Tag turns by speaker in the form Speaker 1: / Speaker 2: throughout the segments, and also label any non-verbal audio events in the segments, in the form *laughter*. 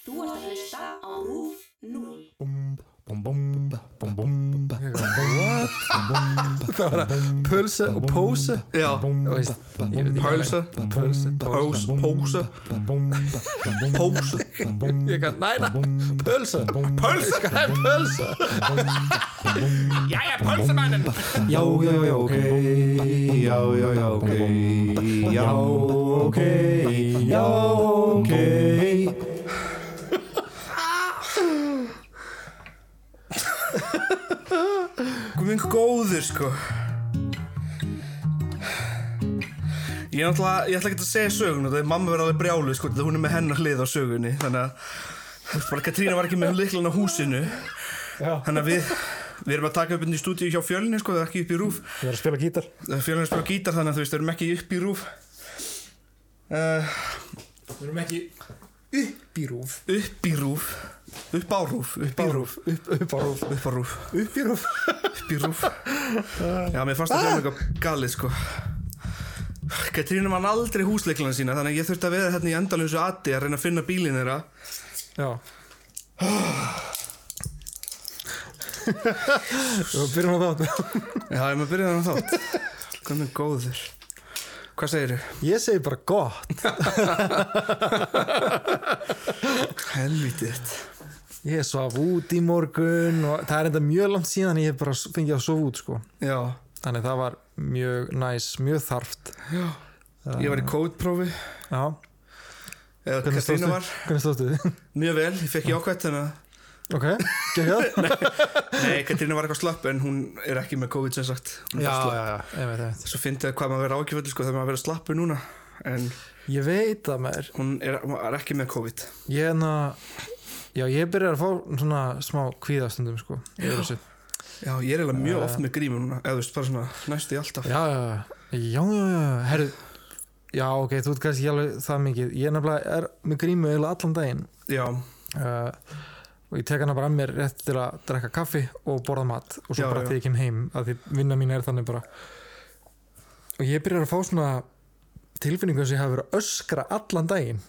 Speaker 1: Þú ert að hlusta á RÚF 0.
Speaker 2: Það var að pölse og póse
Speaker 3: Já,
Speaker 2: Þú veist, ég veit ekki
Speaker 3: Pölse,
Speaker 2: alveg. Pölse,
Speaker 3: Pós, pósa Pósa
Speaker 2: Ég kann, næna, pölse
Speaker 3: Pölse
Speaker 2: Það er pölse
Speaker 3: Jæja, pölsemænin
Speaker 4: Já, já, já, ok, já, já, já, ok, já, ok, já, ok.
Speaker 3: Minn góður, sko Ég er náttúrulega, ég ætla ekki að segja söguna Það er mamma verið alveg brjálu, sko Það hún er með hennar hlið á sögunni Þannig að, þú veist bara, Katrína var ekki með líklan á húsinu Þannig að við Við erum að taka upp inn í stúdíu hjá fjölinni sko, það er ekki upp í rúf.
Speaker 5: Ég er að spila gítar
Speaker 3: Fjölinni spila gítar þannig að þú veist, við erum ekki upp í rúf. Uh,
Speaker 5: Við erum ekki upp í rúf
Speaker 3: upp í rúf, upp á rúf, upp á rúf.
Speaker 5: Upp, upp á rúf
Speaker 3: upp á rúf,
Speaker 5: Upp í rúf Ah!
Speaker 3: upp í rúf já, mér fannst það hljóðum eitthvað galið sko Katrínu mann aldrei húsleiklana sína þannig að ég þurfti að vera hérna í endalösu ati að reyna að finna bílinn þeirra
Speaker 5: Já Þú byrjum á þátt
Speaker 3: já, ég maður byrjaði hann þátt hvað með góður hvað segir þau?
Speaker 5: Ég segi bara gott
Speaker 3: helvítið þitt.
Speaker 5: Ég svaf út í morgun og það er enda mjög langt síðan en ég hef bara fengið að sofa út sko
Speaker 3: já,
Speaker 5: Þannig það var mjög næs, mjög þarft
Speaker 3: ég var í kódprófi
Speaker 5: Já,
Speaker 3: eða
Speaker 5: hvernig
Speaker 3: Katrínu
Speaker 5: stóðstu?
Speaker 3: var
Speaker 5: Hvernig stóðstu *laughs* þið?
Speaker 3: mjög vel, ég fekk jákvætt þannig að
Speaker 5: ok, *laughs* geggjað
Speaker 3: nei, Katrínu var eitthvað slapp en hún er ekki með COVID sem sagt Hún er bara slapp.
Speaker 5: já, einmitt, einmitt
Speaker 3: svo fyndi það hvað maður verið ákjöfullu sko þegar maður verið slappu núna en
Speaker 5: Ég veit það maður
Speaker 3: hún er, er ekki með COVID
Speaker 5: Ég er ná Já, ég byrjar að fá svona smá kvíðastundum sko yfir þessu.
Speaker 3: Já, ég er eiginlega mjög oft með grímu núna eða þú veist, bara svona næstu í alltaf
Speaker 5: Já, já, já, já, já, já, herru Já, ok, þú ert kannski ekki alveg það mikið Ég er nefnilega er með grímu eiginlega allan daginn
Speaker 3: Já,
Speaker 5: uh, og ég tek hana bara að mér rétt til að drekka kaffi og borða mat og svo
Speaker 3: Já,
Speaker 5: bara
Speaker 3: já.
Speaker 5: tekjum heim að því vinna mín er þannig bara og ég byrjar að fá svona tilfinningu sem ég hafi verið að öskra allan daginn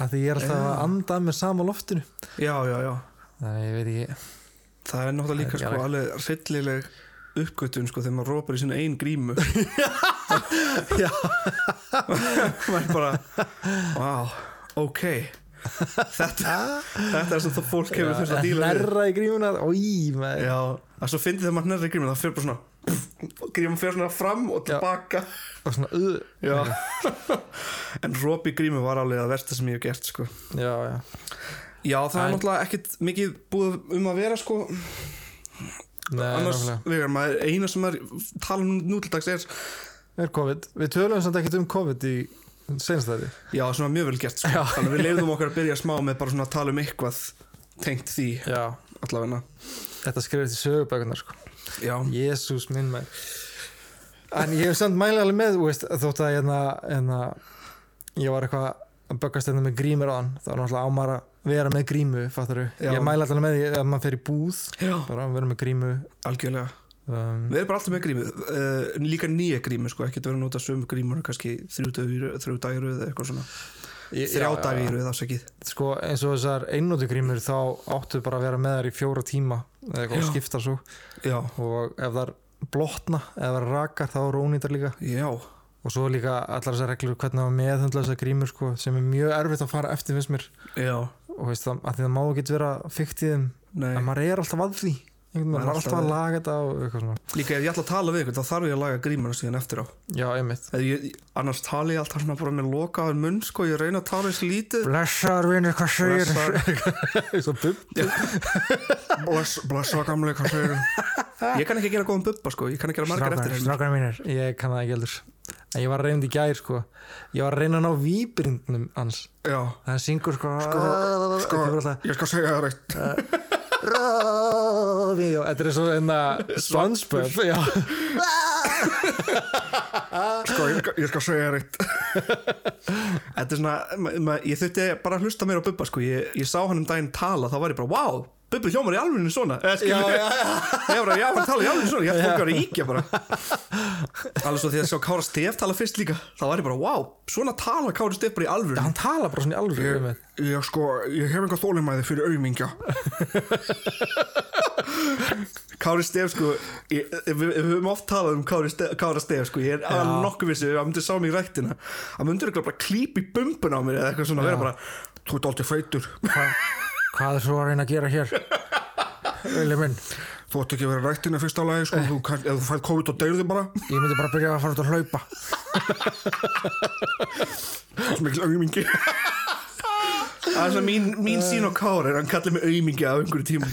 Speaker 5: að því ég er alltaf að anda með sama loftinu
Speaker 3: já, já, já
Speaker 5: þannig ég veit ekki
Speaker 3: Það er náttúrulega líka
Speaker 5: Það er
Speaker 3: sko
Speaker 5: ekki
Speaker 3: alveg hryllileg uppgötun sko þegar maður rópar í sinna einn *laughs* grímu
Speaker 5: Já.
Speaker 3: *laughs* maður er bara Vá, ok Þetta, þetta er sem það fólk hefur þurft að díla við
Speaker 5: nærra eh, í grímuna Í, maður
Speaker 3: Já, að svo fyndi þegar maður nærri grímu það fyrir bara svona grímum fyrir svona fram og
Speaker 5: Já.
Speaker 3: tilbaka
Speaker 5: og svona uh,
Speaker 3: Já, *laughs* En róp í grímu var alveg að versta sem ég hef gert sko
Speaker 5: já, já,
Speaker 3: Já, það er
Speaker 5: En-
Speaker 3: náttúrulega ekkit mikið búið um að vera sko
Speaker 5: Nei,
Speaker 3: annars
Speaker 5: nákvæmlega.
Speaker 3: vegar maður, eina sem maður tala um nú til dags er
Speaker 5: er COVID við tölum samt ekkert um COVID í senstæði
Speaker 3: já, sem var mjög vel gert sko. þannig að við leiðum okkar að byrja smá með bara svona að tala um eitthvað tengt því
Speaker 5: já,
Speaker 3: allavegna
Speaker 5: þetta skrifist í sögubækunar sko.
Speaker 3: já,
Speaker 5: Jésús minn maður en ég hef samt mæla alveg með þú veist, þótt að hérna, hérna, ég var eitthvað að böggast hérna með grímur á hann þá er náttúrulega ámar að vera með grímu fattaru.
Speaker 3: Já.
Speaker 5: ég mæla alltaf með því að maður fer í búð
Speaker 3: já,
Speaker 5: bara að vera með grímu
Speaker 3: algjörlega
Speaker 5: um,
Speaker 3: við erum bara alltaf með grímu, uh, líka nýja grímu sko, ekki að vera að nota sömu grímur kannski þrjú, dagur, þrjú dagir eða eitthvað svona
Speaker 5: ég-
Speaker 3: þrjá
Speaker 5: já,
Speaker 3: dagir eða afsakið
Speaker 5: sko, eins og þessar einnótu grímur þá áttu bara að vera með þær í fjóra tíma eða eitthvað
Speaker 3: Já.
Speaker 5: og skipta svo
Speaker 3: já,
Speaker 5: og ef þær blotna, ef þær rakar þá eru ónýtar líka
Speaker 3: já,
Speaker 5: og svo líka allar þessar reglur hvernig að meðhandla þessar grímur sko, sem er mjög erfitt að fara eftir finnst mér
Speaker 3: já
Speaker 5: og veist það, að því það má ekki vera fikt í þeim
Speaker 3: Nei.
Speaker 5: en maður er alltaf að því einhvern, maður er alltaf að laga þetta og eitthvað svona
Speaker 3: líka ef ég ætla að tala við ykkur þá þarf ég að laga grímuna síðan eftir á
Speaker 5: já, einmitt
Speaker 3: Eða ég, annars tala ég alltaf svona bara með lokaðan munn sko, ég reyna að tala eins lítið
Speaker 5: blessaður vinur, hvað segir
Speaker 3: Blessaður.
Speaker 5: *laughs* svo bubb
Speaker 3: Bless, blessa gamli, hvað segir Ég kann ekki gera góðan bubba sko, ég kann ekki gera margar eftir hérna
Speaker 5: strákar mínir ég kann það ekki heldur en ég var reynd í gær sko ég var að reyna að ná víbrindnum hans
Speaker 3: Já,
Speaker 5: það syngur sko
Speaker 3: sko,
Speaker 5: þetta er bara
Speaker 3: ég skal segja það reitt
Speaker 5: hérna, alltaf- þetta er svo enna SpongeBob já
Speaker 3: Sko, ég, ég skal segja þér eitt *laughs* Þetta er svona ma, ma, Ég þurfti bara að hlusta mér á Bubba sko. ég, ég sá hann um daginn tala, þá var ég bara Vá, Bubbi hljómar í alveginu svona Eða, skilur,
Speaker 2: Já, já,
Speaker 3: *laughs* Ég var bara, já, hann tala í alveginu svona Ég ætti fólk að vera íkja bara Alveg svo því að sjá Kára Stef tala fyrst líka Þá var ég bara, vá, svona tala Kára Stef bara í alveginu
Speaker 5: hann tala bara svona í alveg um þetta
Speaker 3: Ég sko, ég hef einhver þólimæði fyrir aumingja Kári Stef sko ég, Við við höfum oft talað um Kári Stef, Kára Stef sko Ég er alveg nokkuð vissi Ef hann myndi sá mig í rættina Hann myndi örugglega bara klípa í bumbun á mér Eða eitthvað svona vera bara Þú ert aldrei feitur
Speaker 5: hvað er svo að reyna að gera hér Vili minn,
Speaker 3: Þú ætti ekki að vera í rættina fyrst á lagi sko þú, kann- Ef þú fætt COVID og deyrði bara
Speaker 5: ég myndi bara byrja að fara út að hlaupa
Speaker 3: Það er mikil aumingi Það er svona mín, mín sín og Kári Hann kallir mig aumingi af einhverju tíma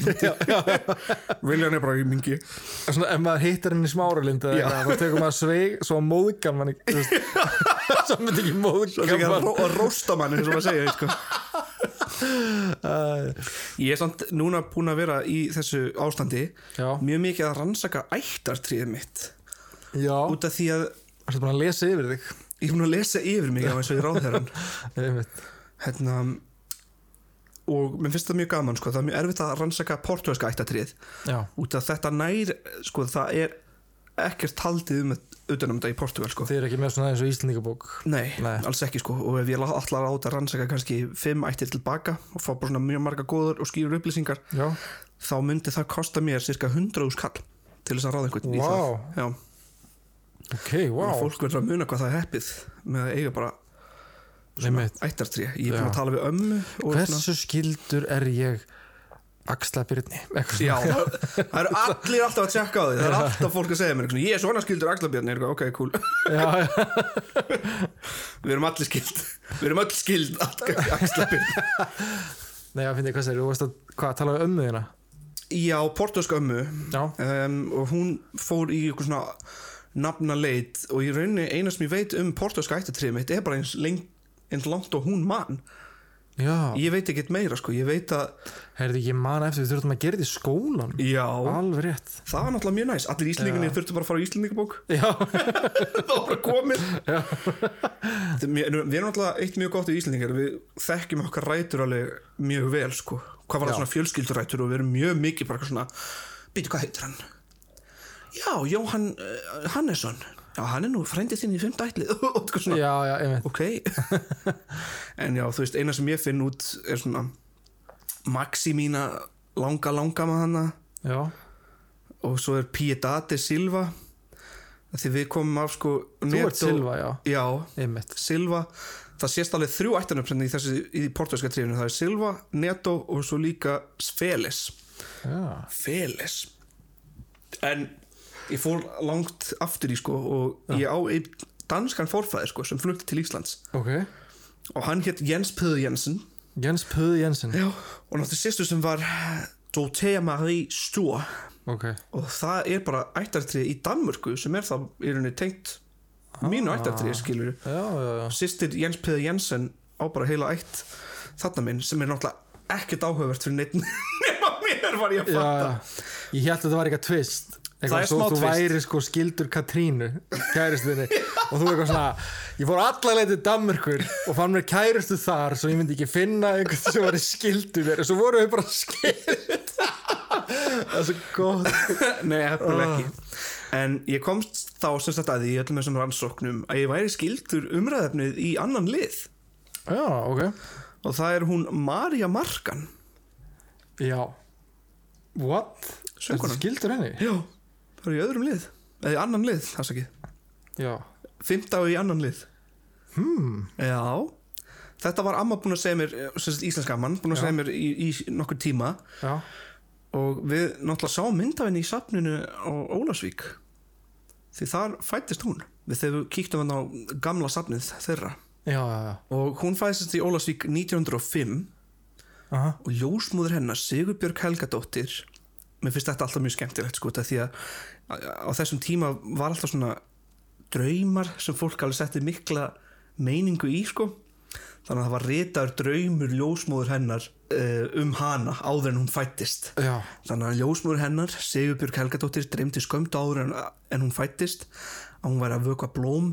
Speaker 3: Viljan er bara aumingi
Speaker 5: svona, ef maður hittir henni í smáralind eða
Speaker 3: Já.
Speaker 5: eitthvað, þá tekur maður sveig svo móðgan mann ekki, þú *laughs* veist. svo myndi
Speaker 3: Það
Speaker 5: ekki
Speaker 3: er
Speaker 5: móðgan
Speaker 3: ekki að
Speaker 5: mann
Speaker 3: ró- að rósta mann eins og maður sko. segja sko. Ég er samt núna búin að vera í þessu ástandi
Speaker 5: Já.
Speaker 3: Mjög mikið að rannsaka ættartríð mitt
Speaker 5: já,
Speaker 3: Út af því að
Speaker 5: það er bara að lesa yfir þig
Speaker 3: ég er búin að lesa yfir mig af eins og ég ráð þeirran
Speaker 5: einmitt,
Speaker 3: hérna, Og mér finnst það mjög gaman sko. Það er mjög erfitt að rannsaka portugalska ættartríð
Speaker 5: já,
Speaker 3: Út af þetta nær sko, Það er ekkert haldið um utanum þetta í Portugal sko.
Speaker 5: þið er ekki með svona eins og íslendingabók
Speaker 3: Nei,
Speaker 5: Nei.
Speaker 3: alls ekki sko og ef ég allar á þetta að rannsaka kannski fimm ættir tilbaka og fá bara svona mjög marga góður og skýrur upplýsingar
Speaker 5: já,
Speaker 3: þá myndi það kosta mér cirka 100 úr skall til þess að ráða einhvern í það
Speaker 5: Vá.
Speaker 3: Já,
Speaker 5: ok,
Speaker 3: wow.
Speaker 5: wow
Speaker 3: fólk verður að muna hvað það er heppið með að eiga bara
Speaker 5: einmitt
Speaker 3: ættartrí Ég er búin
Speaker 5: Já.
Speaker 3: að tala við ömmu og svona-
Speaker 5: hversu skildur er ég Axla Byrni eitthvað svona.
Speaker 3: Já, það eru allir alltaf að tjekka á því Það er alltaf fólk að segja mér eitthvað svona, Ég er svona skildur axlabjörn Ok, cool *laughs*
Speaker 5: já, já,
Speaker 3: Við erum allir skild Við erum öll skild axlabjörn
Speaker 5: nei, já, finnir, hvað sér, þú veist að hvað, tala um ömmu þína
Speaker 3: Já, portugalsk ömmu
Speaker 5: já,
Speaker 3: um, og hún fór í eitthvað svona nafna leit og í rauninni eina sem ég veit um portugalska ættatrýðum mitt er bara eins, leng, eins langt og hún mann
Speaker 5: já,
Speaker 3: ég veit ekkert meira sko, ég veit að
Speaker 5: heyrðu, ég man eftir við þurfum að gera þetta í skólan
Speaker 3: já,
Speaker 5: alveg rétt
Speaker 3: það var náttúrulega mjög næs allir íslendinginni þurftu bara að fara á íslendingabók
Speaker 5: *laughs* já,
Speaker 3: það var bara komið Þe- mér- við erum náttúrulega eitt mjög gott í íslendingar við þekkjum okkar rætur alveg mjög vel sko, hvað var það svona fjölskyldurætur og við erum mjög mikið bara eitthvað svona býtu hvað heitir hann já, Jóhann uh, Hannesson já, hann er nú frændið þinn í fymta ætlið *laughs* og eitthvað svona,
Speaker 5: já, já, einmitt
Speaker 3: ok *laughs* en já, þú veist, eina sem ég finn út er svona Maxi mína langa langa með hana
Speaker 5: já,
Speaker 3: og svo er Piedade Silva því við komum af sko
Speaker 5: þú ert Silva, já,
Speaker 3: já,
Speaker 5: einmitt
Speaker 3: Silva það sést alveg þrjú ættanöfn í þessu í portugalska trífinu, það er Silva, Neto og svo líka Felis
Speaker 5: já,
Speaker 3: Felis en ég fór langt aftur í sko og ég á einn danskan forfæðir sko sem flutti til Íslands
Speaker 5: ok
Speaker 3: og hann hétt Jens Pöðu Jensen
Speaker 5: Jens Pöð Jensen,
Speaker 3: Já. og náttúrulega sérstu sem var Dorothea Marie Stur
Speaker 5: ok
Speaker 3: og það er bara ættartrið í Danmörku sem er það í rauninni tengt mínu ættartrið skilur
Speaker 5: Ah. já, já, já,
Speaker 3: sýstir Jens Peder Jensen á bara heila eitt þarna minn sem er náttúrulega ekkert áhugavert fyrir neitt *laughs* nema mér var ég að
Speaker 5: já,
Speaker 3: fatta
Speaker 5: já. ég held að þetta var eitthvað twist eitthvað,
Speaker 3: Það er
Speaker 5: þú,
Speaker 3: smá
Speaker 5: þú
Speaker 3: twist.
Speaker 5: væri sko skildur Katrínu kæristinni og þú eitthvað svona ég fór allalegið til Danmörkur og fann mér kæristu þar svo ég myndi ekki finna einhvern sem var skildur þér og svo voru við bara skild það er svo gott *laughs*
Speaker 3: Nei, hefnilega ekki Ah. En ég komst þá sem sagt að því í öllum þessum rannsóknum að ég væri skildur umræðefnið í annan lið
Speaker 5: já, ok
Speaker 3: og það er hún Marja Markan
Speaker 5: já, what?
Speaker 3: Söngkonan.
Speaker 5: Ertu skildur henni?
Speaker 3: Já, það er í öðrum lið eða í annan lið, það sagði
Speaker 5: já,
Speaker 3: Fymta og í annan lið Hmm Já Þetta var amma búin að segja mér, eh, sem sagt íslenska amman búin að segja mér í, í nokkur tíma
Speaker 5: já,
Speaker 3: og við náttúrulega sáum myndafinni í safninu á Ólafsvík því þar fættist hún við þegar við kíktum hann á gamla safnið þeirra
Speaker 5: já, já, já.
Speaker 3: og hún fættist í Ólafsvík 1905
Speaker 5: Aha.
Speaker 3: og ljósmóður hennar Sigurbjörg Helgadóttir mér finnst þetta alltaf mjög skemmtilegt sko þetta því að á á þessum tíma var alltaf svona draumar sem fólk alveg setti mikla meiningu í sko þannig að það var ritaður draumur ljósmóður hennar uh, um hana áður en hún fættist
Speaker 5: Já.
Speaker 3: þannig að ljósmóður hennar Sigurbjörg Helgadóttir dreymdi skömmt áður en, en hún fættist að hún væri að vöka blóm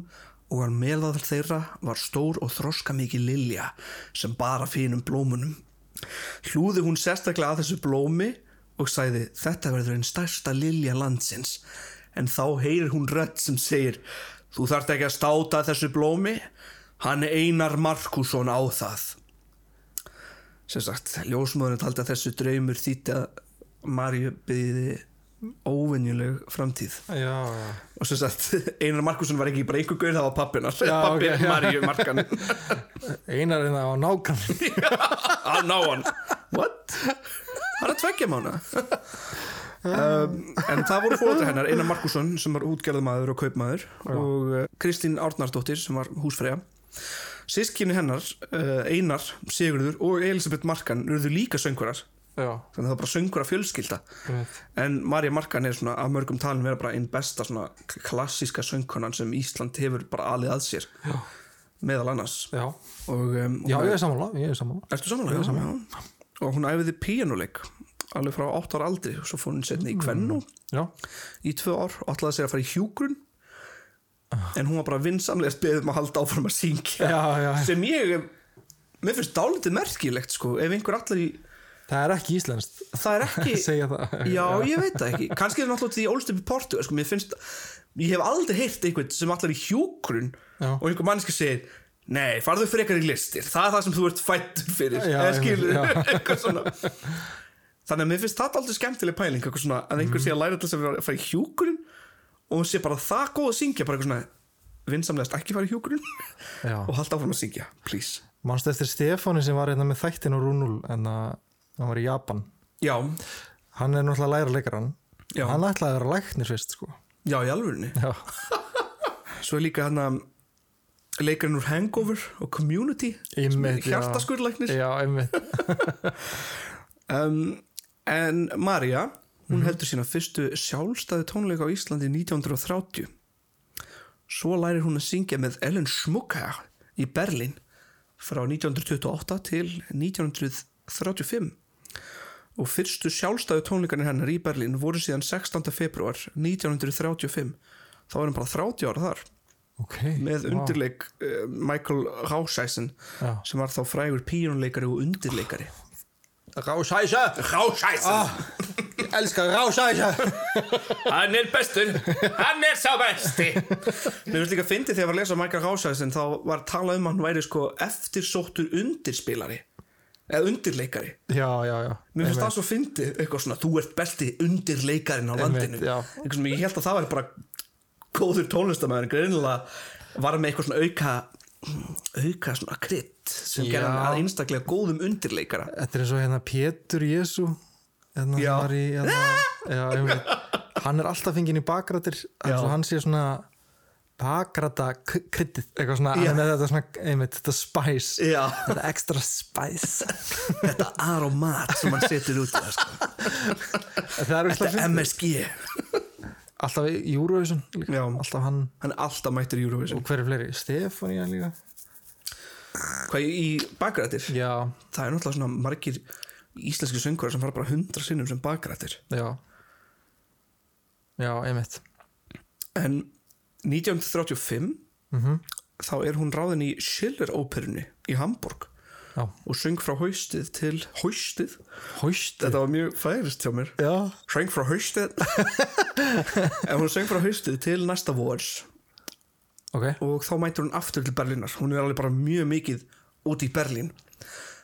Speaker 3: og að meðal þeirra var stór og þroska mikið lilja sem bara fínum blómunum hlúði hún sérstaklega að þessu blómi og sagði þetta verður einn stærsta lilja landsins en þá heyrir hún rödd sem segir þú þarft ekki að státa af þessu blómi hann Einar Markusson á það sem sagt ljósmóðurinn taldi að þessu draumur þýtti að Marju byrði óvenjuleg framtíð
Speaker 5: Já, já.
Speaker 3: og sem sagt *laughs* Einar Markusson var ekki bara einhver guður það var pappinar pappi
Speaker 5: ok, já.
Speaker 3: Marju
Speaker 5: *laughs*
Speaker 3: Markan
Speaker 5: Einar er það á nákvæm *laughs*
Speaker 3: að ná hann what? hann er að tveggja mánu um, en það voru fóruður hennar Einar Markusson sem var útgerðamaður og kaupmaður og uh, Kristín Árnardóttir sem var húsfreyja sískinni hennar uh, Einar, Sigurður og Elisabeth Markan eruðu líka söngvarar
Speaker 5: Já,
Speaker 3: þannig að það var bara söngvara fjölskylda
Speaker 5: einmitt.
Speaker 3: en Marja Markan er svona af mörgum talin vera bara einn besta svona klassíska söngkonan sem Ísland hefur bara alið að sér Já. meðal annars
Speaker 5: já.
Speaker 3: og um,
Speaker 5: já ég er sammála Ég er sammála
Speaker 3: Ertu samanlega? Já, samanlega. Og hún æfiði píanuleik alveg frá 8 ára aldri og svo fór hún setni í kvennu
Speaker 5: Já,
Speaker 3: í 2 ár og ætlaði sér að fara í hjúgrun
Speaker 5: Ah.
Speaker 3: en hún var bara vinsamlegast beðið um að halda áfram að syngja
Speaker 5: já, já.
Speaker 3: sem ég mér finnst dálítið merkilegt sko ef einhver allar í
Speaker 5: Það er ekki íslenskt
Speaker 3: það er ekki
Speaker 5: *laughs* Segja það
Speaker 3: Já, ég veit það ekki kannski er náttúrulega því ég ólst upp í Portu sko, mér finnst ég hef aldrei heyrt einhvern sem allar í hjúgrun
Speaker 5: Já.
Speaker 3: og einhver mannski segir Nei, farðu frekar í listir, það er það sem þú ert fættur fyrir,
Speaker 5: Já,
Speaker 3: eða
Speaker 5: ég-
Speaker 3: skilur,
Speaker 5: já.
Speaker 3: *laughs* eitthvað svona. Þannig að mér finnst það aldrei skemmtileg pæling, eitthvað svona, að
Speaker 5: Mhm.
Speaker 3: einhver sé að læra til þess að fara í hjúkurinn og sé bara það góð að syngja, bara eitthvað svona, vinsamlegast ekki fara í hjúkurinn
Speaker 5: Já.
Speaker 3: *laughs* og halda áfram að syngja, please.
Speaker 5: Manstu eftir Stefáni sem var hérna með þættin og rúnul en að hann var í Japan
Speaker 3: Já,
Speaker 5: Hann er náttúrulega að læra leikarann
Speaker 3: Já.
Speaker 5: Hann ætlaði að vera læknir fyrst sko
Speaker 3: já, í alvörinni.
Speaker 5: Já,
Speaker 3: *laughs* Svo er líka hann að leikarinn úr Hangover og Community,
Speaker 5: Einmitt, já.
Speaker 3: hjartaskurðlæknir.
Speaker 5: já einmitt
Speaker 3: um, En Marja
Speaker 5: Mhm.
Speaker 3: Hún heldur sína fyrstu sjálfstæði tónleika á Íslandi 1930 Svo lærir hún að syngja með Ellen Schmucker í Berlín frá 1928 til 1935 og fyrstu sjálfstæðu tónleikanir hennar í Berlín voru síðan 16. februar 1935 þá er hann bara 30 ára þar
Speaker 5: okay.
Speaker 3: með
Speaker 5: vá.
Speaker 3: undirleik uh, Michael Rauscheisen
Speaker 5: Já.
Speaker 3: sem var þá frægur píjónleikari og undirleikari
Speaker 5: Rásæsa
Speaker 3: Rauscheisen
Speaker 5: Ah. Ég elska rásæsa
Speaker 3: Hann er bestur, hann er sá besti Mér finnst líka fyndið þegar ég var að lesa um Michael Househausinn þá var talað um að hann væri sko eftirsóttur undirspilari eða undirleikari
Speaker 5: *laughs* Já, já, já
Speaker 3: Mér finnst það svo fyndið eitthvað svona þú ert besti undirleikarin á landinu
Speaker 5: já.
Speaker 3: eitthvað sem ég held að það væri bara góður tónlistamæður greinilega var með eitthvað svona auka auka svona krydd sem
Speaker 5: Já.
Speaker 3: gerði hann að einstaklega góðum undirleikara
Speaker 5: Þetta er eins og hérna Pétur Jésu hérna,
Speaker 3: Já.
Speaker 5: hann var í,
Speaker 3: *laughs*
Speaker 5: hérna, já, einmitt. Hann er alltaf fenginn í bakrættir eins og hann sé svona bakræta kryttið eitthvað svona,
Speaker 3: Já.
Speaker 5: hann er með þetta svona einmitt, þetta spice,
Speaker 3: Já.
Speaker 5: þetta extra spice
Speaker 3: þetta aromat sem hann setur út í það, sko.
Speaker 5: Það er
Speaker 3: *laughs*
Speaker 5: alltaf,
Speaker 3: þetta MSG
Speaker 5: alltaf í Eurovision líka,
Speaker 3: Já.
Speaker 5: alltaf hann
Speaker 3: hann er alltaf mættur í Eurovision
Speaker 5: og hver er fleiri, Stefania líka
Speaker 3: hvað í bakrættir
Speaker 5: Já,
Speaker 3: það er náttúrulega svona margir íslenski söngurar sem fara bara hundra sinnum sem bakrættir
Speaker 5: já Já, einmitt
Speaker 3: en 1935 þá er hún ráðin í Schiller óperunni í Hamburg
Speaker 5: Já,
Speaker 3: og söng frá haustið til haustið
Speaker 5: hóst
Speaker 3: þetta var mjög færist hjá mér
Speaker 5: Já,
Speaker 3: söng frá haustið en hún söng frá haustið til næsta vors
Speaker 5: ok
Speaker 3: og þá mætir hún aftur til Berlínar hún er alveg bara mjög mikið út í Berlín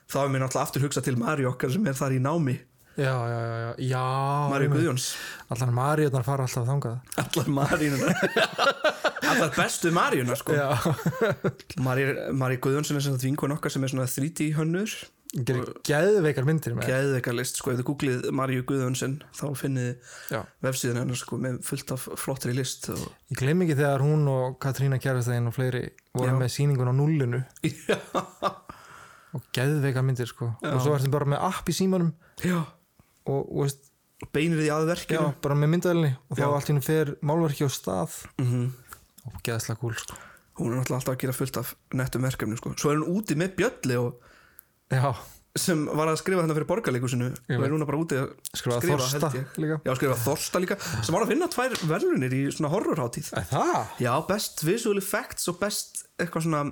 Speaker 3: þá er mér náttúrulega aftur hugsað til Mari okkar sem er þar í námi
Speaker 5: Já, já, já, já, já
Speaker 3: Mari Guðjóns
Speaker 5: Allar Maríunar fara alltaf þangað
Speaker 3: Allar maríunar *laughs* Allar bestu maríunar sko
Speaker 5: Já.
Speaker 3: Marí, Marí Guðjónsson er sem það vinkun okkar sem er svona 3D hönnur
Speaker 5: Gerir geðveikar myndir með
Speaker 3: Geðveikarlist sko, ef þið googlið Maríu Guðjónsson þá finnið
Speaker 5: Já.
Speaker 3: vefsíðan hennar sko með fullt af flottri list og...
Speaker 5: Ég gleym ekki þegar hún og Katrína Kjærastæðin og fleiri voru
Speaker 3: Já.
Speaker 5: með sýningun á nullinu
Speaker 3: Já
Speaker 5: og geðveikar myndir sko og svo ertu bara með app í símanum
Speaker 3: Já
Speaker 5: og, og veist,
Speaker 3: Beinir því að
Speaker 5: já,
Speaker 3: verkinu
Speaker 5: bara með myndaðalni og þá
Speaker 3: Já.
Speaker 5: allt í henni fer málverki á stað mm -hmm. og geðsla gúl sko
Speaker 3: Mhm. hún er náttúrulega alltaf að gera fullt af nettum verkefni sko. svo er hún úti með Bjölli og,
Speaker 5: Já,
Speaker 3: sem var að skrifa þetta fyrir borgarleikusinu
Speaker 5: Ég
Speaker 3: og
Speaker 5: veit.
Speaker 3: er núna bara úti að
Speaker 5: Skrifa Þorsta
Speaker 3: held ég.
Speaker 5: líka.
Speaker 3: já, skrifa Þorsta líka sem var að vinna tvær verðlunir í svona horrorhátíð
Speaker 5: er það?
Speaker 3: já, best visual effects og best eitthvað svona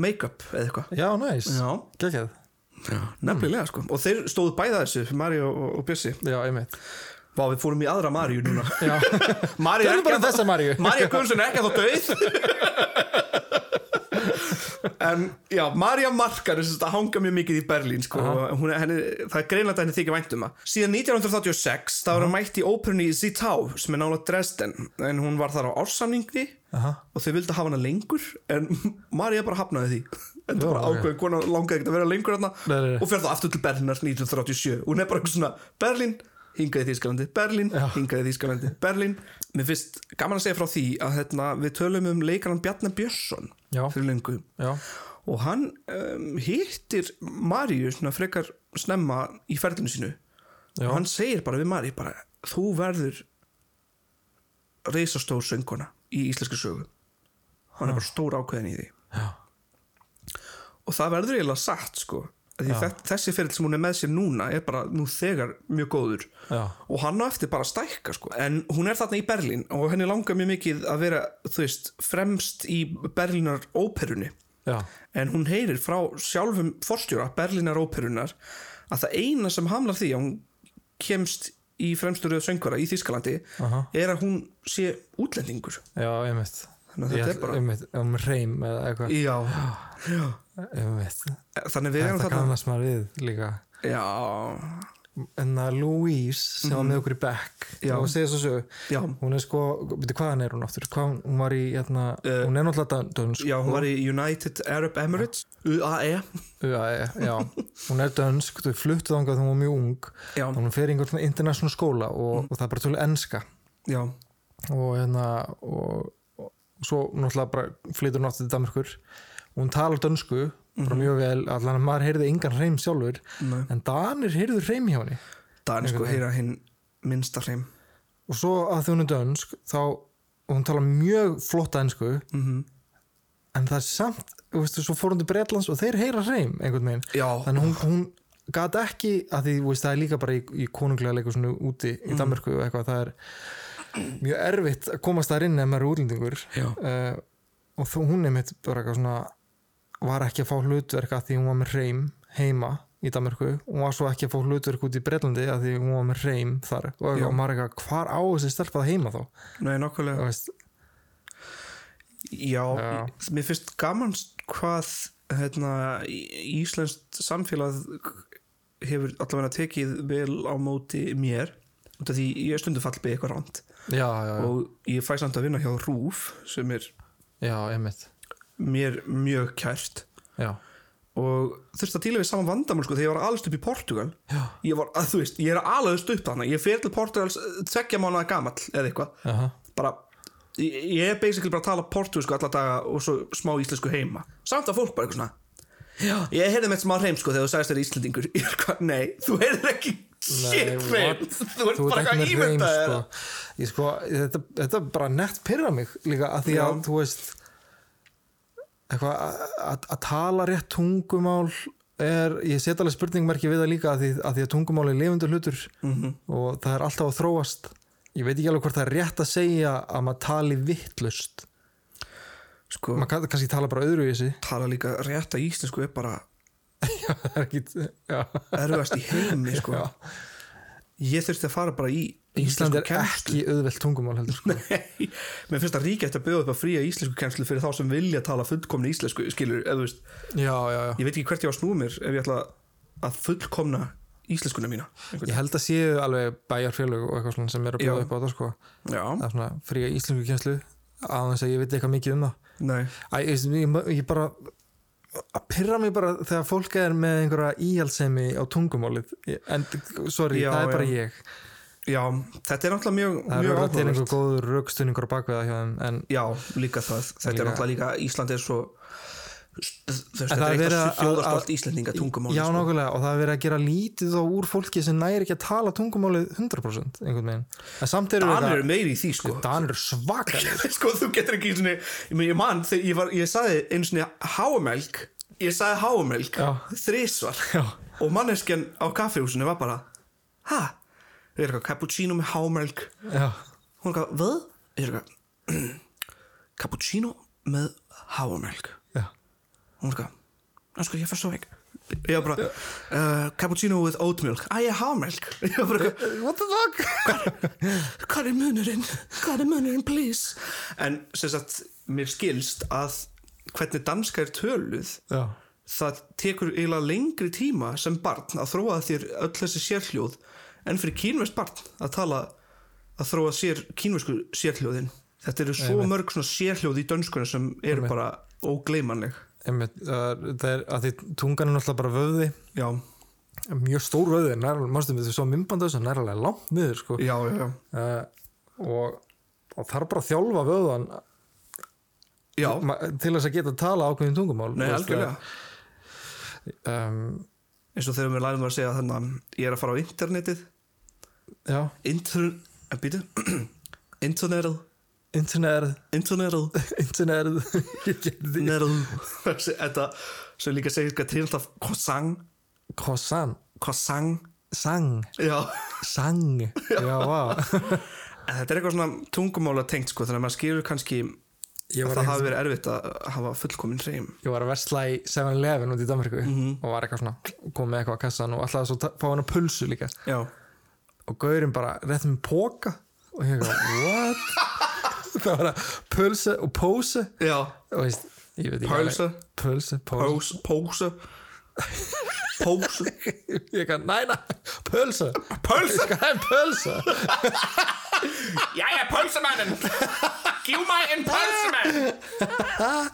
Speaker 3: make-up eða eitthvað
Speaker 5: Já, næs
Speaker 3: Já.
Speaker 5: Gekkjað
Speaker 3: nefnilega sko og þeir stóðu bæða þessu, Mario og, og Bjössi
Speaker 5: Já, einmitt
Speaker 3: Vá, við fórum í aðra Maríu núna
Speaker 5: *laughs* Já.
Speaker 3: Maríu
Speaker 5: Gerðu
Speaker 3: ekki
Speaker 5: bara um
Speaker 3: ennþá-
Speaker 5: þessa Maríu.
Speaker 3: María Guðmundsson er ekki að þá döið En já, Marja Markar er sem sagt að hanga mjög mikið í Berlín sko, og hún, er- henni, það er greinlega að henni þykir vænt um það Síðan 1986 þá er hún mætt í óperunni í Zittau sem er nála Dresden en hún var þar á ársamningi og þau vildi hafa hana lengur en Marja bara hafnaði því en það bara
Speaker 5: ok.
Speaker 3: ákveðin kona langaði ekki að vera lengur hana,
Speaker 5: Nei, nei, nei.
Speaker 3: og fer þá aftur til Berlínars 1937 hún er bara eitthvað svona Berlín hingaði Þýskalandi, Berlín, hingaði Þýskalandi Berlín, mér finnst gaman að segja frá því að hérna, við tölum um leikarann Bjarnar Björnsson
Speaker 5: Já.
Speaker 3: fyrir lengu
Speaker 5: Já,
Speaker 3: og hann um, hittir Maríu svona frekar snemma í ferðinu sínu
Speaker 5: Já.
Speaker 3: og hann segir bara við Maríu bara, þú verður reisastór sönguna í íslenski sögu hann er bara stór ákveðin í því Já. og það verður eiginlega satt sko Af því þe- þessi fyrir sem hún er með sér núna er bara nú þegar mjög góður
Speaker 5: Já.
Speaker 3: og hann á eftir bara að stækka sko. en hún er þarna í Berlín og henni langar mjög mikið að vera þú veist, fremst í Berlínar óperunni
Speaker 5: já,
Speaker 3: en hún heyrir frá sjálfum forstjóra Berlínar óperunar að það eina sem hamlar því að hún kemst í fremstu röð söngvara í Þýskalandi er að hún sé útlendingur
Speaker 5: já, einmitt
Speaker 3: Þannig að þetta
Speaker 5: Ég
Speaker 3: er
Speaker 5: held-
Speaker 3: bara-
Speaker 5: Einmitt, um reym eða eitthvað
Speaker 3: já, já.
Speaker 5: Einmitt
Speaker 3: þannig við erum
Speaker 5: Þetta
Speaker 3: þarna
Speaker 5: kannast maður við líka
Speaker 3: já,
Speaker 5: En að Louise sem var með okkur í Beck
Speaker 3: Mhm. Já.
Speaker 5: og segja svo sögu
Speaker 3: Já.
Speaker 5: Hún er sko, veitir hvaðan er hún aftur? Hvað, hún- hún var í, hérna, hún er náttúrulega dönsk
Speaker 3: Eh. já, hún var í United Arab Emirates UAE
Speaker 5: Já, já, hún er dönsk, þau fluttu þangað þegar hún var mjög ung
Speaker 3: Já. Mhm.
Speaker 5: og hún fer í einhvern svona international skóla og, og það er bara tölur enska
Speaker 3: já,
Speaker 5: og hérna og, og, og svo náttúrulega bara flytur hún aftur til Danmarkur og hún talar dönsku bara mjög vel, allan að maður heyrði engan hreim sjálfur,
Speaker 3: Mhm. Nei.
Speaker 5: en Danir heyrðu hreim hjá henni
Speaker 3: Danir sko heyra hinn minnsta hreim
Speaker 5: og svo að því hún er dönsk þá, og hún talar mjög flotta ensku
Speaker 3: Mhm.
Speaker 5: en það er samt, þú veistu, svo fór hún til Bretlands og þeir heyra hreim einhvern veginn
Speaker 3: Já.
Speaker 5: þannig að hún, hún gat ekki að því, þú veist, það er líka bara í, í konunglega leikursinu úti í Danmarku og eitthvað, það er mjög erfitt að komast þar inn ef maður er útlendingur uh, og þó, hún einmitt bara eitthvað svona var ekki að fá hlutverk að því hún var með hreim heima í Danmarku hún var svo ekki að fá hlutverk út í Bretlandi að því hún var með hreim þar og, eitthvað, og maður er eitthvað, hvar á þessi stelpa það heima þá
Speaker 3: nei,
Speaker 5: Þú
Speaker 3: nokkulega
Speaker 5: veist,
Speaker 3: Já,
Speaker 5: Já.
Speaker 3: mér finnst gaman hvað hérna, í- íslenskt samfélag hefur allavega tekið vel á móti mér út af því ég er stundu fallbið eitthvað ránt
Speaker 5: já, já, já,
Speaker 3: og ég fæ samt að vinna hjá Rúf sem er
Speaker 5: já, einmitt
Speaker 3: mér mjög kært
Speaker 5: já,
Speaker 3: og þurfti að díla við saman vandamál sko þegar ég var alast upp í Portugal
Speaker 5: Já.
Speaker 3: ég var, að þú veist, ég er alast upp þannig ég fer til Portugals eh, tveggja mánuða gamall eða eitthvað
Speaker 5: aha
Speaker 3: bara ég ég er basically bara að tala portugalsku alla daga og svo smá íslensku heima samt að fólk bara eitthvað svona Já. ég heyrði með smá hreim sko þegar þú sagðist þér íslendingur *laughs* Ég er hvað, nei, þú heyrðir ekki shit
Speaker 5: what?
Speaker 3: hreim, *laughs* þú ert bara
Speaker 5: ert ekki
Speaker 3: eitthvað
Speaker 5: með hreim,
Speaker 3: ímynda
Speaker 5: sko. Ég, sko, þetta, þetta bara nett pyrra mig líka að því
Speaker 3: Já.
Speaker 5: að þú veist eitthvað að- að að tala rétt tungumál er, ég set alveg spurningmerki við það líka að því að, því að tungumál er lifundur hlutur
Speaker 3: Mhm.
Speaker 5: og það er alltaf að þróast ég veit ekki alveg hvort það er rétt að segja að maður tali vittlust
Speaker 3: sko,
Speaker 5: maður kann- kannski tala bara öðru í þessi
Speaker 3: tala líka rétt að íslensku er bara
Speaker 5: það er ekki, já
Speaker 3: erfast í
Speaker 5: *laughs*
Speaker 3: heimi sko ég þurfti að fara bara í
Speaker 5: Ísland
Speaker 3: íslensku
Speaker 5: er ekki auðvelt tungumál heldur
Speaker 3: *laughs*
Speaker 5: sko.
Speaker 3: Nei, mér finnst að ríka eftir að bjóða upp að fría íslensku kennslu fyrir þá sem vilja tala fullkomni íslensku skilur, eða þú veist,
Speaker 5: Já, já, já
Speaker 3: ég veit ekki hvert ég á að snúa mér ef ég ætla að fullkomna íslenskuna mína
Speaker 5: Ég held að séu alveg bæjarfélög og eitthvað svona sem er að
Speaker 3: Já.
Speaker 5: bjóða upp á þetta sko Það
Speaker 3: já,
Speaker 5: er svona fría íslensku kjenslu aðeins að ég veit eitthvað mikið um það
Speaker 3: nei
Speaker 5: Æ, ég, veist, ég, ég bara að pyrra mig bara þegar fólk er með einhverja íhaldsemi á tungumálið Ég- en sorry,
Speaker 3: Já,
Speaker 5: það er bara
Speaker 3: já.
Speaker 5: ég
Speaker 3: já, þetta er náttúrulega mjög,
Speaker 5: það er
Speaker 3: mjög
Speaker 5: bara til
Speaker 3: áhugavert
Speaker 5: einhver góður rökstunningur á bakveða hjá þeim en
Speaker 3: já, líka það, þetta
Speaker 5: Líka-
Speaker 3: er náttúrulega líka Ísland er svo þú veist,
Speaker 5: En
Speaker 3: þetta er
Speaker 5: það er verið
Speaker 3: eitthvað
Speaker 5: að-
Speaker 3: þjóðarstolt
Speaker 5: að-
Speaker 3: íslendinga sko. tungumál
Speaker 5: Já, nákvæmlega, og það er verið að gera lítið á úr fólki sem næri ekki að tala tungumálið 100% einhvern veginn en samt eru
Speaker 3: Danir eru meiri í því sko
Speaker 5: Danir eru svakalega
Speaker 3: *laughs* sko þú getur ekki svona, ég, meina, ég man þegar ég, var, ég saði einu svona háumelk ég saði háumelk
Speaker 5: Já.
Speaker 3: þrísvar og manneskjan á kaffihúsinu var bara ha, við erum eitthvað cappuccino með háumelk
Speaker 5: Já,
Speaker 3: hún er eitthvað, hvað, ég er eitthvað *clears throat* cappuccino með háumelk
Speaker 5: já,
Speaker 3: hún er eitthvað, ná sko ég fyrst svo ekki ég var bara, uh, cappuccino with "Ah, oatmilk að ég er *laughs* háumelk ég var bara eitthvað
Speaker 5: Eh, what the fuck
Speaker 3: hvað er munurinn, hvað er munurinn, please en sem sagt, mér skilst að hvernig danska er töluð
Speaker 5: Já,
Speaker 3: það tekur eiginlega lengri tíma sem barn að þróa þér öll þessi sérhljóð en fyrir kínvest barn að tala að þróa sér kínvesku sérhljóðin þetta eru svo mörg svona sérhljóð í dönskunum sem eru bara ógleymanleg
Speaker 5: einmitt, uh, það er að því tungan er náttúrulega bara vöði
Speaker 3: já,
Speaker 5: mjög stór vöði, nærlega, mástu við því svo mymband þessu, nærlega langt niður sko.
Speaker 3: já, já, já.
Speaker 5: uh, og, og þarf bara að þjálfa vöðan
Speaker 3: já.
Speaker 5: ma- til þess að geta að tala ákveðin tungumál
Speaker 3: Nei,
Speaker 5: Þú veist,
Speaker 3: algjörlega
Speaker 5: uh, um,
Speaker 3: eins og þegar við lærum að segja þannig að ég er að fara á internetið
Speaker 5: Já,
Speaker 3: Inter... En býtu *clears throat* Internetið
Speaker 5: *laughs* internet
Speaker 3: Internetið
Speaker 5: internet *laughs* ég geti
Speaker 3: Netið Þetta sem líka segir Katrín alltaf Kosang
Speaker 5: Kosan,
Speaker 3: Kosang
Speaker 5: sang,
Speaker 3: Já
Speaker 5: sang Já, vá
Speaker 3: *laughs* En þetta er eitthvað svona tungumála tengt sko Þannig að maður skilur kannski
Speaker 5: Ég
Speaker 3: að
Speaker 5: var,
Speaker 3: það
Speaker 5: að,
Speaker 3: hafi verið erfitt að hafa fullkomin hreim
Speaker 5: ég var að versla í 7-Eleven út í Danmarku
Speaker 3: Mhm.
Speaker 5: og var eitthvað svona kom með eitthvað á kassan og alltaf svo ta- fá hann að pulsu líka
Speaker 3: Já
Speaker 5: og gaurinn bara rétt með póka og ég eitthvað, what? *laughs*
Speaker 2: Það var að pulse og pose
Speaker 3: Já
Speaker 5: og veist, ég veit ekki
Speaker 3: Pulse.
Speaker 5: alveg- Pulse,
Speaker 3: Pós
Speaker 5: pulse
Speaker 3: Pósa
Speaker 5: *laughs*
Speaker 3: Pósa
Speaker 2: Ég kann, næna, pulse
Speaker 3: Pölsa
Speaker 2: Það er pulse
Speaker 3: Jæja, pölsumannin Gjú mig en pölsumann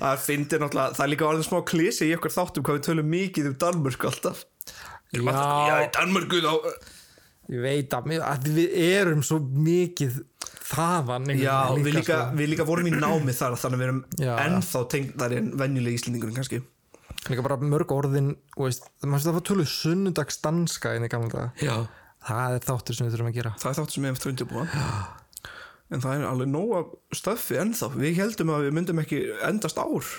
Speaker 3: Það fyndir náttúrulega Það er líka orðin smá klísi í okkur þáttum hvað við tölum mikið um Danmörk alltaf Já,
Speaker 5: Já.
Speaker 3: já í Danmörku þá eh,
Speaker 5: ég veit að, mér- að við erum svo mikið þaðan einhvern
Speaker 3: Já,
Speaker 5: veginn
Speaker 3: við líka,
Speaker 5: sko.
Speaker 3: við líka vorum í námi þar þannig að við erum
Speaker 5: Já.
Speaker 3: ennþá tengdari en venjulegi íslendingurinn kannski
Speaker 5: sko. líka bara mörg orðin og veist, maður sér það var töluð sunnudagsdanska inn í gamla dag
Speaker 3: Já
Speaker 5: það er þáttur sem við þurfum að gera
Speaker 3: Það er þáttu sem við hefum þröndi að búa En það er alveg nóga stöffi ennþá Við heldum að við myndum ekki endast ár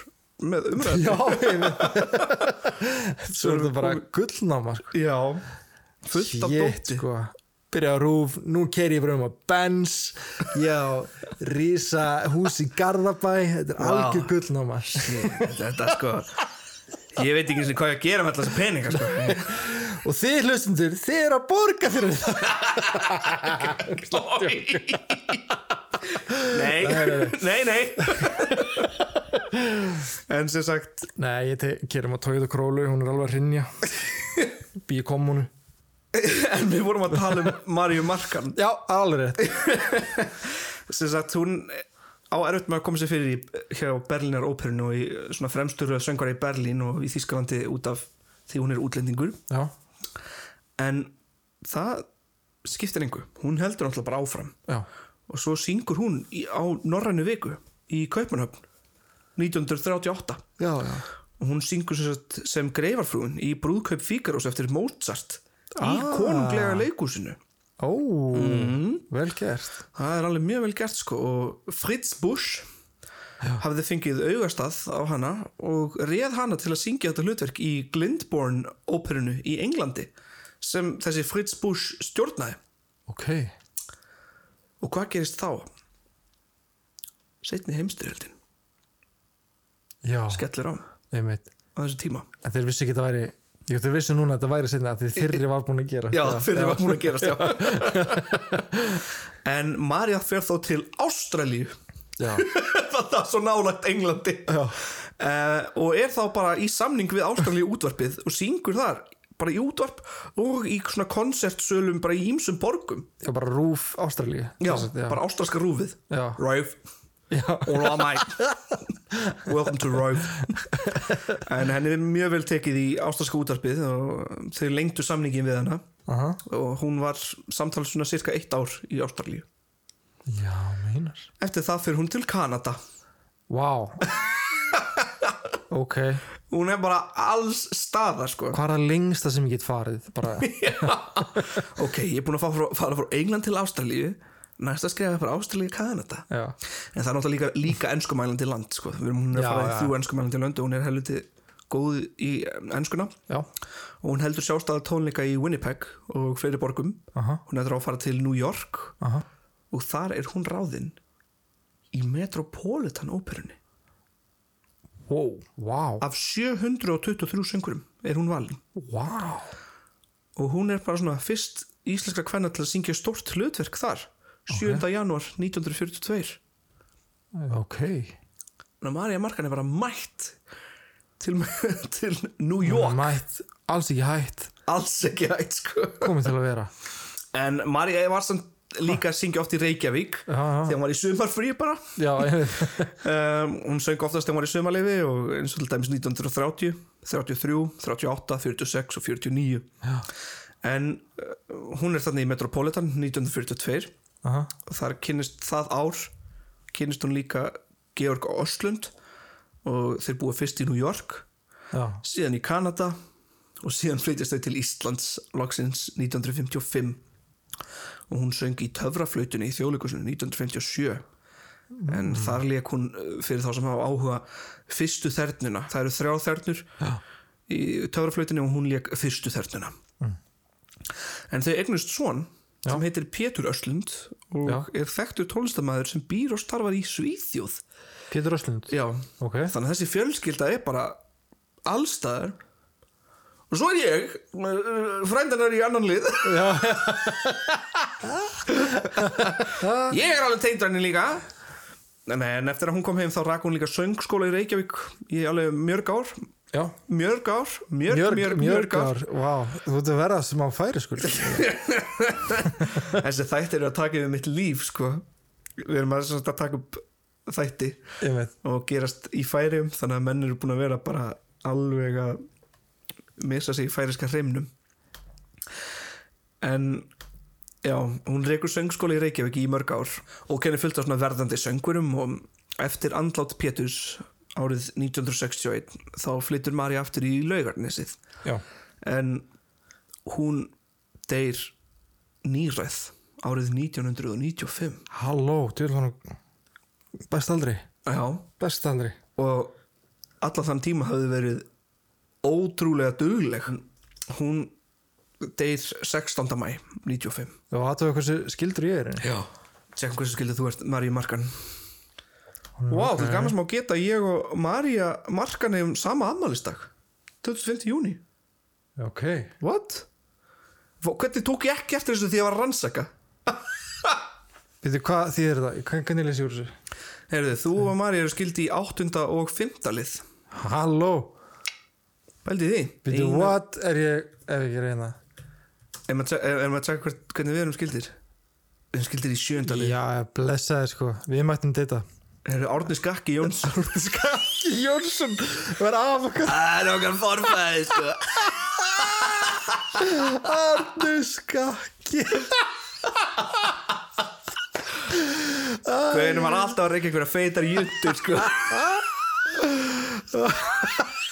Speaker 3: með umræðum
Speaker 5: já, ég veit *laughs* svo er þetta bara gullnáma sko.
Speaker 3: Já Fullt af
Speaker 5: Shit,
Speaker 3: dóti
Speaker 5: sko. byrja á rúf, nú keiri ég bara um að bens já, rísa hús í Garðabæ þetta er
Speaker 3: Vá.
Speaker 5: algjör gullnáma
Speaker 3: Þetta sko Ég veit ekki einu sinni hvað ég að gera með alltaf þessa peninga sko.
Speaker 5: og þið hlustundur, þið eru að borga fyrir það
Speaker 3: Nei, *laughs* nei, nei En sem sagt
Speaker 5: nei, ég um kerum að tóið og królu, hún er alveg að rinja býi kommunu
Speaker 3: En við vorum að tala um Maríu Markan
Speaker 5: já, alveg rétt
Speaker 3: sem sagt hún á erfitt með að koma sér fyrir í hér á Berlínar óperinu og í svona fremstur söngvar í Berlín og í Þískalandi út af því hún er útlendingur
Speaker 5: já,
Speaker 3: en það skiptir engu hún heldur náttúrulega bara áfram
Speaker 5: já,
Speaker 3: og svo syngur hún í, á Norrænu viku í Kaupmannhöfn 1938
Speaker 5: já, já.
Speaker 3: og hún syngur sem, sagt sem greifarfrúin í brúðkaup Fíkarós eftir Mozart í konunglega leikúsinu
Speaker 5: ó, vel gert
Speaker 3: Það er alveg mjög vel gert sko og Fritz Busch hafði fengið augastað á hana og reð hana til að syngja þetta hlutverk í Glyndbourne óperunu í Englandi sem þessi Fritz Busch stjórnaði
Speaker 5: ok,
Speaker 3: og hvað gerist þá? Setni heimstyrjöldin
Speaker 5: já,
Speaker 3: skellir á á
Speaker 5: einmitt
Speaker 3: þessu tíma
Speaker 5: En þeir vissi ekki að það væri Ég þeir vissi núna að þetta væri sinna að þið þyrri var búin að gera
Speaker 3: Já, fyrir var hún að gerast já. *laughs* En Marja fer þá til Ástralíu
Speaker 5: Já.
Speaker 3: *laughs* Það er svo nálægt Englandi uh, Og er þá bara í samning við Ástralíu útvarpið og syngur þar bara í útvarp og í svona konsertsölum bara í ímsum borgum
Speaker 5: Já, bara rúf Ástralíu
Speaker 3: Já,
Speaker 5: Sem sagt, já.
Speaker 3: bara ástralska rúfið
Speaker 5: Já.
Speaker 3: Rúf All of mine *laughs* Welcome to Rúf En henni er mjög vel tekið í ástralska útvarpið og þau lengdu samningin við hana
Speaker 5: Aha.
Speaker 3: og hún var samtals svona cirka eitt ár í Ástralíu
Speaker 5: Já, meinar
Speaker 3: eftir það fyrir hún til Kanada
Speaker 5: Vá ok,
Speaker 3: Hún er bara alls staðar sko
Speaker 5: hvað er það lengsta sem ég get farið bara,
Speaker 3: Ok, ég er búin að fá frá, fara frá England til Ástralíu Næsta skrifa frá Ástralíu í Kanada
Speaker 5: já,
Speaker 3: En það er náttúrulega líka, líka enskumælandi land sko. Við erum hún er
Speaker 5: Já,
Speaker 3: að fara í
Speaker 5: já.
Speaker 3: þrjú enskumælandi lönd og hún er helviti góð í um, enskuna
Speaker 5: já,
Speaker 3: og hún heldur sjálfstæða tónleika í Winnipeg og fleiri borgum
Speaker 5: Aha.
Speaker 3: hún er að fara til New York
Speaker 5: aha
Speaker 3: og þar er hún ráðinn í Metropolitan óperunni
Speaker 5: wow, wow,
Speaker 3: af 723 söngurum er hún valin
Speaker 5: wow
Speaker 3: og hún er bara svona fyrst íslenska kvenna til að syngja stórt hlutverk þar 7. janúar 1942
Speaker 5: ok,
Speaker 3: Þannig að Marja Markan er bara mætt til, *laughs* til New York
Speaker 5: mætt alls ekki hætt,
Speaker 3: alls ekki hægt sko
Speaker 5: komið til að vera
Speaker 3: en Marja var samt líka að syngja oft í Reykjavík
Speaker 5: já, já,
Speaker 3: þegar hún var í sumarfrí bara
Speaker 5: já, einmitt.
Speaker 3: um, hún söng oftast þegar hún var í sumarleifi og eins og til dæmis 1930 33, 38, 46 og 49
Speaker 5: Já.
Speaker 3: en uh, hún er þarna í Metropolitan 1942
Speaker 5: aha,
Speaker 3: og þar kynnist það ár kynnist hún líka Georg Östlund og þeir búa fyrst í New York
Speaker 5: já,
Speaker 3: síðan í Kanada og síðan flytjast þau til Íslands loksins 1955 og hún söng í töfraflautunni í þjóðleikursunum 1957 en þar leik hún uh, fyrir þá sem hafa áhuga fyrstu þernuna, það eru þrjá þernur Já. í töfraflautunni og hún leik fyrstu þernuna en þau eignust svon sem heitir Pétur Öslund og
Speaker 5: Já.
Speaker 3: er þekktur tónlistamæður sem býr og starfar í Svíþjóð
Speaker 5: Pétur Öslund
Speaker 3: Já,
Speaker 5: ok,
Speaker 3: Þannig að þessi fjölskylda er bara allstaðar og svo er ég frændanar í annan lið *laughs* ég er alveg teindranin líka en en eftir að hún kom heim þá rak hún líka söngskóla í Reykjavík í alveg mjörg ár
Speaker 5: já
Speaker 3: mjörg ár, mjörg, mjörg, mjörg, ár
Speaker 5: Mjörgar, vá, þú ert að vera sem á færi
Speaker 3: *laughs*
Speaker 5: sko
Speaker 3: þessi þættir eru að taka yfir mitt líf sko. við erum að, sem sagt að taka upp þætti
Speaker 5: Ég veit,
Speaker 3: og gerast í færium þannig að menn eru búin að vera bara alveg að missa sig í færiska hreimnum en já, hún reykur söngskóli í Reykjavík í mörg ár og kennir fullt af svona verðandi söngurum og eftir andlát Péturs árið 1961 þá flyttur Marja aftur í laugarnesið
Speaker 5: já,
Speaker 3: en hún deyr nýræð árið 1995
Speaker 5: halló, til hann best aldrei,
Speaker 3: já,
Speaker 5: best aldrei
Speaker 3: og allan þann tíma hafði verið ótrúlega dugleg hún deyr 16. mæ 95
Speaker 5: og aðtöðu hversu skildur ég er henni
Speaker 3: já Sekum hversu skildið þú ert Maríu Markan Vá, wow, það er gaman sem á geta að ég og Maríu Markan hefum sama afmælistag 25. júni
Speaker 5: ok,
Speaker 3: What? Vá, Hvernig tók ég ekki eftir þessu því ég var að rannsaka?
Speaker 5: veitu hvað þýðir það Hvern- hvernig lýs ég úr þessu
Speaker 3: Heyrðu, þú og Maríu eru skildið í 8. og 5. lið
Speaker 5: halló,
Speaker 3: Bældi því
Speaker 5: veitu
Speaker 3: Eina-
Speaker 5: what er ég ef ég er hérna? eina
Speaker 3: Ef maður að erum að tjekka hvern- hvernig við erum skildir Við erum skildir í 7. lið
Speaker 5: já, blessaði sko, við mættum þetta
Speaker 3: Það eru Árni Skakki Jónsson
Speaker 5: Skakki Jónsson var af okkar
Speaker 3: *laughs* Það er okkar forfæði sko
Speaker 5: Arnu Skakki
Speaker 3: Hvernig var alltaf að reyka einhverja feitar jöndur *laughs* sko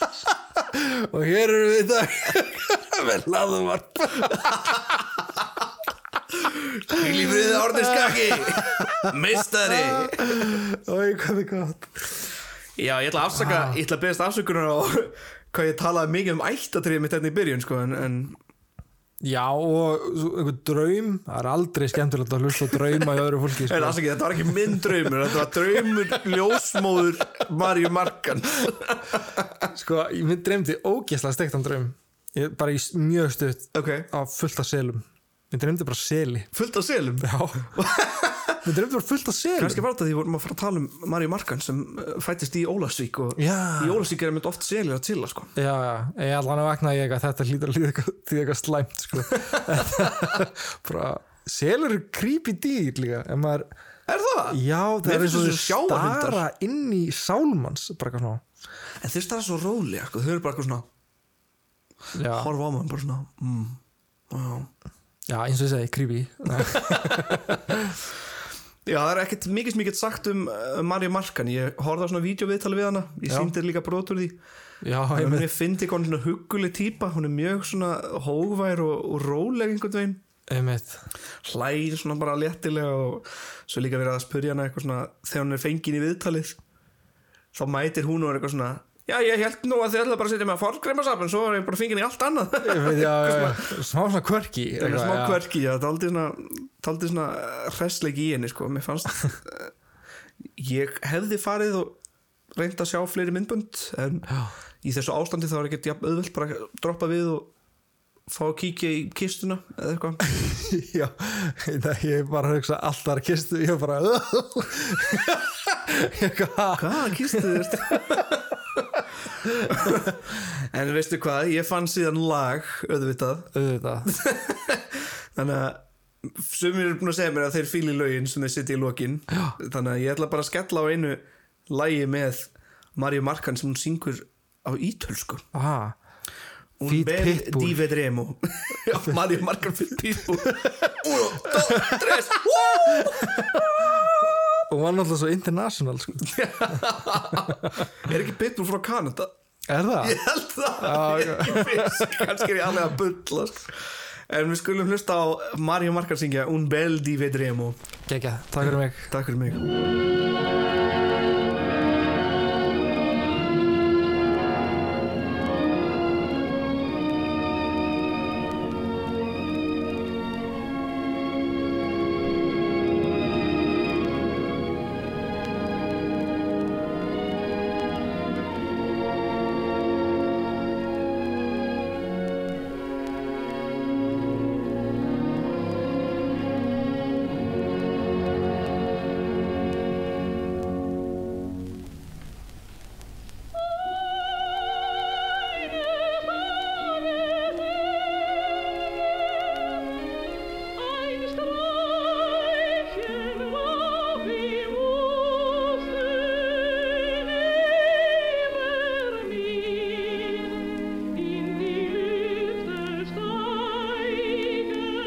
Speaker 5: og hér eru við í dag með laðum varp
Speaker 3: Hvíl í friði Árni Skakki Mistari
Speaker 5: og ég hvað er gott
Speaker 3: Já ég ætla að afsaka Ég ætla að beðast afsökunar á Hvað ég talaði mikið um ættatriðið mitt hérna í byrjun sko En, en
Speaker 5: já, og svo einhver draum það er aldrei skemmtilegt að hlusta á drauma í öðru fólki *laughs*
Speaker 3: en
Speaker 5: sko.
Speaker 3: afsakið þetta var ekki minn draumur Þetta var draumur ljósmóður Marju Markan
Speaker 5: sko, ég mér dreymdi ógeðslega steiktan draum ég, bara í s- mjög stutt
Speaker 3: Ok
Speaker 5: á fullt af selum mér dreymdi bara seli
Speaker 3: Fullt af selum
Speaker 5: já mér dreymdi bara fullt af selum
Speaker 3: Kannski var þetta því við vorum að fara að tala um Marju Markan sem eh, fæddist í Ólasvík og
Speaker 5: Já.
Speaker 3: í Ólasvík er einmitt oft selir að tilla sko
Speaker 5: já, já, ég allan að vakna ég að þetta hlýtur að líða eitthvað- því eitthvað slæmt sko. *laughs* bara selur eru creepy dýr líka en maður,
Speaker 3: Er það?
Speaker 5: já, það
Speaker 3: Mér
Speaker 5: er eins
Speaker 3: finnst
Speaker 5: og
Speaker 3: þessu sjávarhundar.
Speaker 5: stara inn í sálmanns bara eitthvað svona
Speaker 3: En þeir starfa svo rólega, sko, þau eru bara eitthvað svona
Speaker 5: já,
Speaker 3: Horfa á mann, bara svona mm, já.
Speaker 5: *laughs* já, eins og ég segi, creepy Nei.
Speaker 3: Já, það er ekkert mikið mikið sagt um uh, Marja Markan, ég horfði á svona vídeoviðtali við hana, ég sýndi þér líka brotur því
Speaker 5: Já,
Speaker 3: en
Speaker 5: einmitt.
Speaker 3: mér fyndi hvað hún er svona hugguleg típa hún er mjög svona hóvær og, og róleg einhvern veginn,
Speaker 5: einmitt.
Speaker 3: hlægir svona bara léttilega og svo er líka verið að spyrja hana eitthvað svona, þegar hún er fengin í viðtalið þá mætir hún og er eitthvað svona Já, ég held nú að þið ætlaði bara að setja mig að forgreimasap en svo er ég bara fengin í allt annað *laughs*
Speaker 5: Ég veit, já, já, já. smá svona kvörki
Speaker 3: Það er smá kverki, já, það er aldrei, aldrei svona hressleiki í henni, sko, mér fannst eh, ég hefði farið og reynd að sjá fleiri myndbönd en í þessu ástandi þá er ekkert jafn auðvelt bara að droppa við og fá að kíkja í kistuna eða eitthvað
Speaker 5: *laughs* Já, það, ég er bara að hugsa alltaf að kistu, ég er bara *laughs* Eitthvað,
Speaker 3: Hvað, kistu þér? *laughs* en veistu hvað, ég fann síðan lag auðvitað,
Speaker 5: auðvitað
Speaker 3: þannig að sumir eru búin að segja mér að þeir fíli lögin sem þeir sitja í lokin þannig að ég ætla bara að skella á einu lægi með Marju Markan sem hún syngur á ítölsku
Speaker 5: Aha,
Speaker 3: hún
Speaker 5: Feed
Speaker 3: ber
Speaker 5: Pitbull.
Speaker 3: divedremo *laughs* já, Marju Markan fyrir pitbull uno, dos, tres
Speaker 5: og var náttúrulega svo international sko.
Speaker 3: er ekki pitbull frá Kanada?
Speaker 5: Er það?
Speaker 3: ég held það ég er ekki viss, kannski er ég alveg að bulla sko. en við skulum hlusta á Marju Markan syngja Un bel divedremo
Speaker 5: Gekja, takk fyrir mig
Speaker 3: takk fyrir mig
Speaker 6: Ein Streichen war wie Musik über mir. In die Lüfte steigen,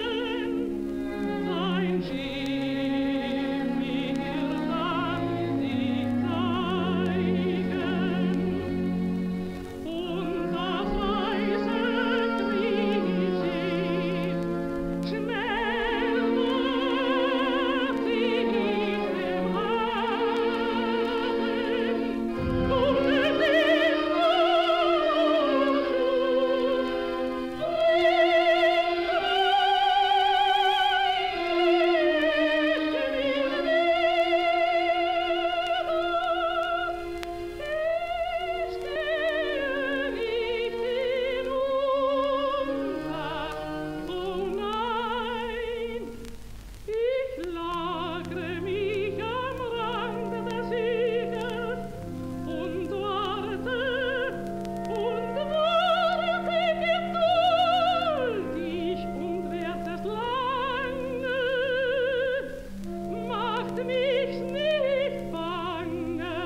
Speaker 6: sein Schiff mir kann sich zeigen. Und das heiße Kriegsschiff Schnell macht sie nicht im Hafen, und es ist nur Schluss. Stelle ich den Umgang, oh nein, ich lagre mich am Rand des Segels und warte und warte geduldig und werd es lange, macht mich nicht bange.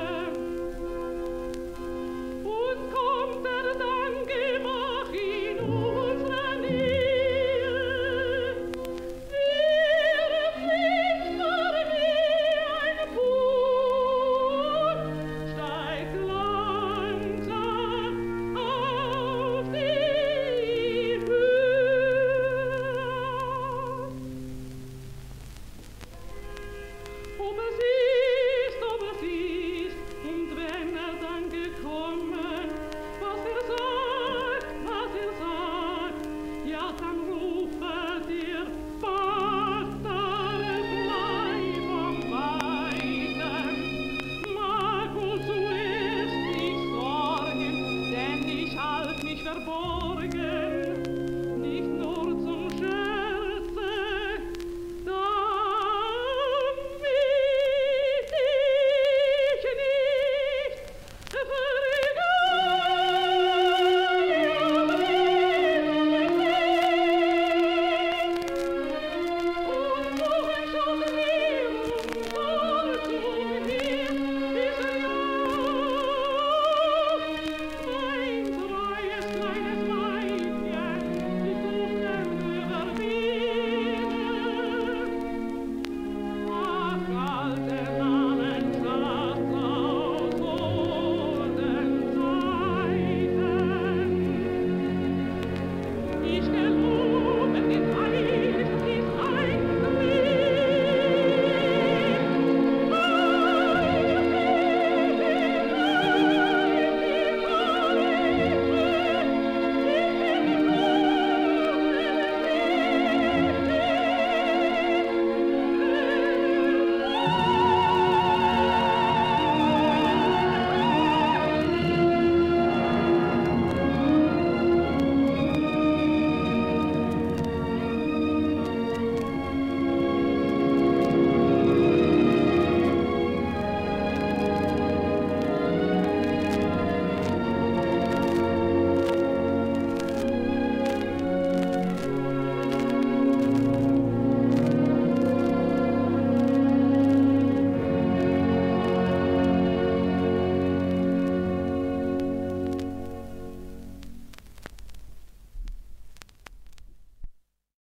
Speaker 6: Und kommt er dann gemach in unsere Nähe, wäre nicht wie ein Boot, steigt langsam auf die Höhe. Ob es ist, ob es ist, und wenn er dann gekommen, was er sagt, was er sagt, ja, dann